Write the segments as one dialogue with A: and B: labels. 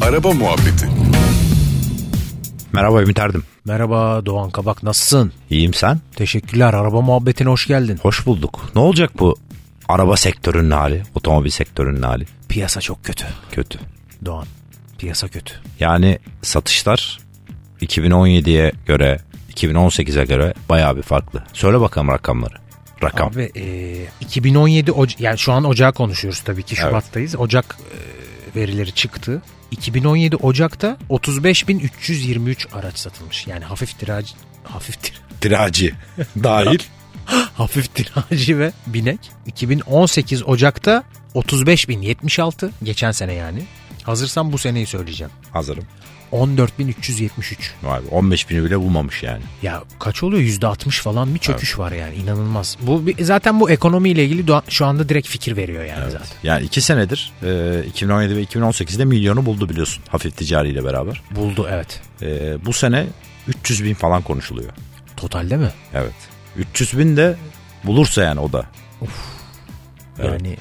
A: Araba Muhabbeti
B: Merhaba Ümit Erdim.
C: Merhaba Doğan Kabak nasılsın?
B: İyiyim sen?
C: Teşekkürler araba muhabbetine hoş geldin.
B: Hoş bulduk. Ne olacak bu araba sektörünün hali, otomobil sektörünün hali?
C: Piyasa çok kötü
B: Kötü.
C: Doğan. Piyasa kötü.
B: Yani satışlar 2017'ye göre, 2018'e göre bayağı bir farklı. Söyle bakalım rakamları. Rakam.
C: Abi e, 2017 Oca- yani şu an Ocak konuşuyoruz tabii ki
B: Evet.
C: Şubat'tayız. Ocak e, verileri çıktı. 2017 Ocak'ta 35.323 araç satılmış. Yani hafif tiraj hafif tir,
B: Tiracı dahil.
C: hafif tiracı ve binek. 2018 Ocak'ta 35.076 geçen sene yani. Hazırsan bu seneyi söyleyeceğim.
B: Hazırım.
C: 14.373.
B: Vay be, 15 bini bile bulmamış yani.
C: Ya kaç oluyor? Yüzde altmış falan bir çöküş var yani inanılmaz. Bu bir- zaten bu ekonomiyle ilgili doğa- şu anda direkt fikir veriyor yani zaten.
B: Yani 2 senedir e, 2017 ve 2018'de milyonu buldu biliyorsun hafif ticariyle beraber.
C: Buldu evet.
B: E, bu sene 300 bin falan konuşuluyor.
C: Totalde mi?
B: Evet. 300 bin de bulursa yani o da. Evet.
C: Yani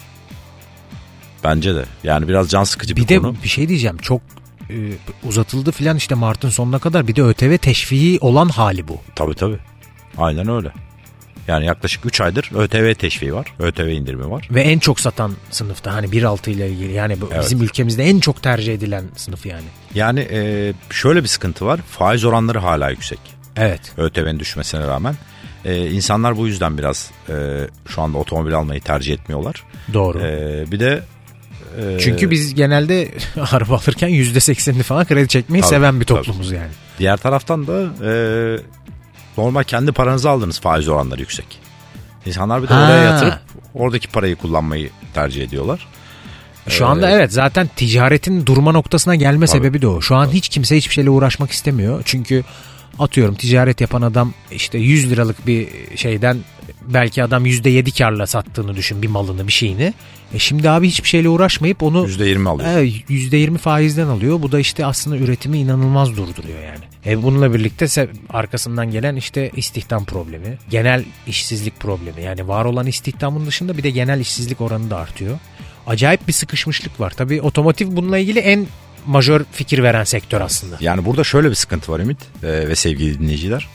B: Bence de. Yani biraz can sıkıcı bir,
C: bir de
B: konu.
C: bir şey diyeceğim çok e, uzatıldı filan işte Mart'ın sonuna kadar bir de ÖTV teşviği olan hali bu.
B: Tabii tabii. Aynen öyle. Yani yaklaşık 3 aydır ÖTV teşviği var. ÖTV indirimi var.
C: Ve en çok satan sınıfta hani 1.6 ile ilgili yani bu
B: Evet.
C: bizim ülkemizde en çok tercih edilen sınıf yani.
B: Yani e, şöyle bir sıkıntı var. Faiz oranları hala yüksek.
C: Evet.
B: ÖTV'nin düşmesine rağmen. E, insanlar bu yüzden biraz e, şu anda otomobil almayı tercih etmiyorlar.
C: Doğru.
B: E, bir de e,
C: Çünkü biz genelde araba alırken %80'ini falan kredi çekmeyi
B: Tabii,
C: seven bir
B: tabii.
C: toplumuz yani.
B: diğer taraftan da e, normal kendi paranızı aldığınız faiz oranları yüksek. İnsanlar bir de
C: Ha.
B: oraya yatırıp oradaki parayı kullanmayı tercih ediyorlar.
C: Şu anda evet zaten ticaretin durma noktasına gelme
B: Tabii.
C: sebebi de o. Şu an hiç kimse hiçbir şeyle uğraşmak istemiyor. Çünkü atıyorum ticaret yapan adam işte 100 liralık bir şeyden belki adam %7 karla sattığını düşün bir malını bir şeyini. E şimdi abi hiçbir şeyle uğraşmayıp onu
B: %20 alıyor.
C: e, %20 faizden alıyor. Bu da işte aslında üretimi inanılmaz durduruyor yani. E bununla birlikte se- arkasından gelen işte istihdam problemi, genel işsizlik problemi. Yani var olan istihdamın dışında bir de genel işsizlik oranı da artıyor. Acayip bir sıkışmışlık var. Tabii otomotiv bununla ilgili en majör fikir veren sektör aslında.
B: Yani burada şöyle bir sıkıntı var Ümit e, ve sevgili dinleyiciler.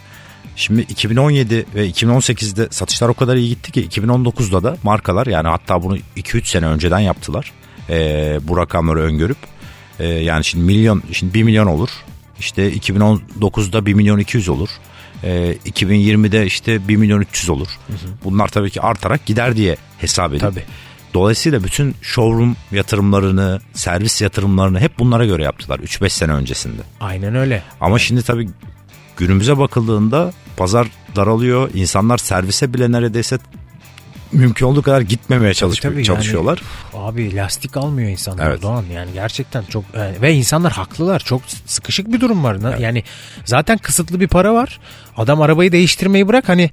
B: Şimdi 2017 ve 2018'de satışlar o kadar iyi gitti ki 2019'da da markalar yani hatta bunu 2-3 sene önceden yaptılar. E, bu rakamları öngörüp e, yani şimdi milyon şimdi 1 milyon olur. İşte 2019'da 1 milyon 200 olur. E, 2020'de işte 1 milyon 300 olur. Bunlar tabii ki artarak gider diye hesap edip.
C: Tabii.
B: Dolayısıyla bütün showroom yatırımlarını, servis yatırımlarını hep bunlara göre yaptılar 3-5 sene öncesinde.
C: Aynen öyle.
B: Ama şimdi tabii günümüze bakıldığında pazar daralıyor. İnsanlar servise bile neredeyse mümkün olduğu kadar gitmemeye çalış-
C: E, tabii yani.
B: çalışıyorlar.
C: Abi lastik almıyor insanlar
B: Evet.
C: Doğan yani gerçekten çok e, ve insanlar haklılar çok sıkışık bir durum var Na- yani zaten kısıtlı bir para var adam arabayı değiştirmeyi bırak hani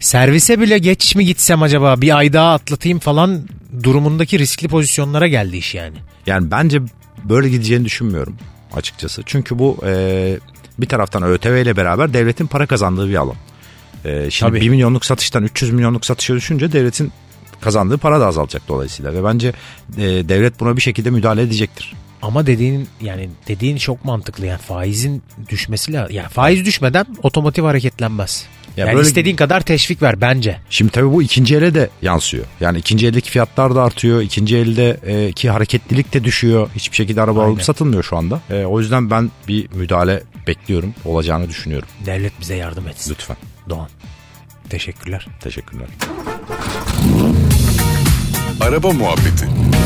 C: servise bile geç mi gitsem acaba bir ay daha atlatayım falan durumundaki riskli pozisyonlara geldi iş yani.
B: Yani bence böyle gideceğini düşünmüyorum açıkçası. Çünkü bu e, bir taraftan ÖTV ile beraber devletin para kazandığı bir alan. E, şimdi
C: Tabii.
B: 1 milyonluk satıştan 300 milyonluk satışa düşünce devletin kazandığı para da azalacak dolayısıyla. Ve bence e, devlet buna bir şekilde müdahale edecektir.
C: Ama dediğin yani dediğin çok mantıklı yani faizin düşmesi lazım. Yani faiz düşmeden otomotiv hareketlenmez.
B: Ya
C: yani
B: böyle-
C: istediğin kadar teşvik ver bence.
B: Şimdi tabii bu ikinci ele de yansıyor. Yani ikinci eldeki fiyatlar da artıyor. İkinci eldeki hareketlilik de düşüyor. Hiçbir şekilde araba
C: Aynen.
B: alıp satılmıyor şu anda. E, o yüzden ben bir müdahale bekliyorum. Olacağını düşünüyorum.
C: Devlet bize yardım etsin.
B: Lütfen.
C: Doğan. Teşekkürler.
B: Teşekkürler.
A: Araba Muhabbeti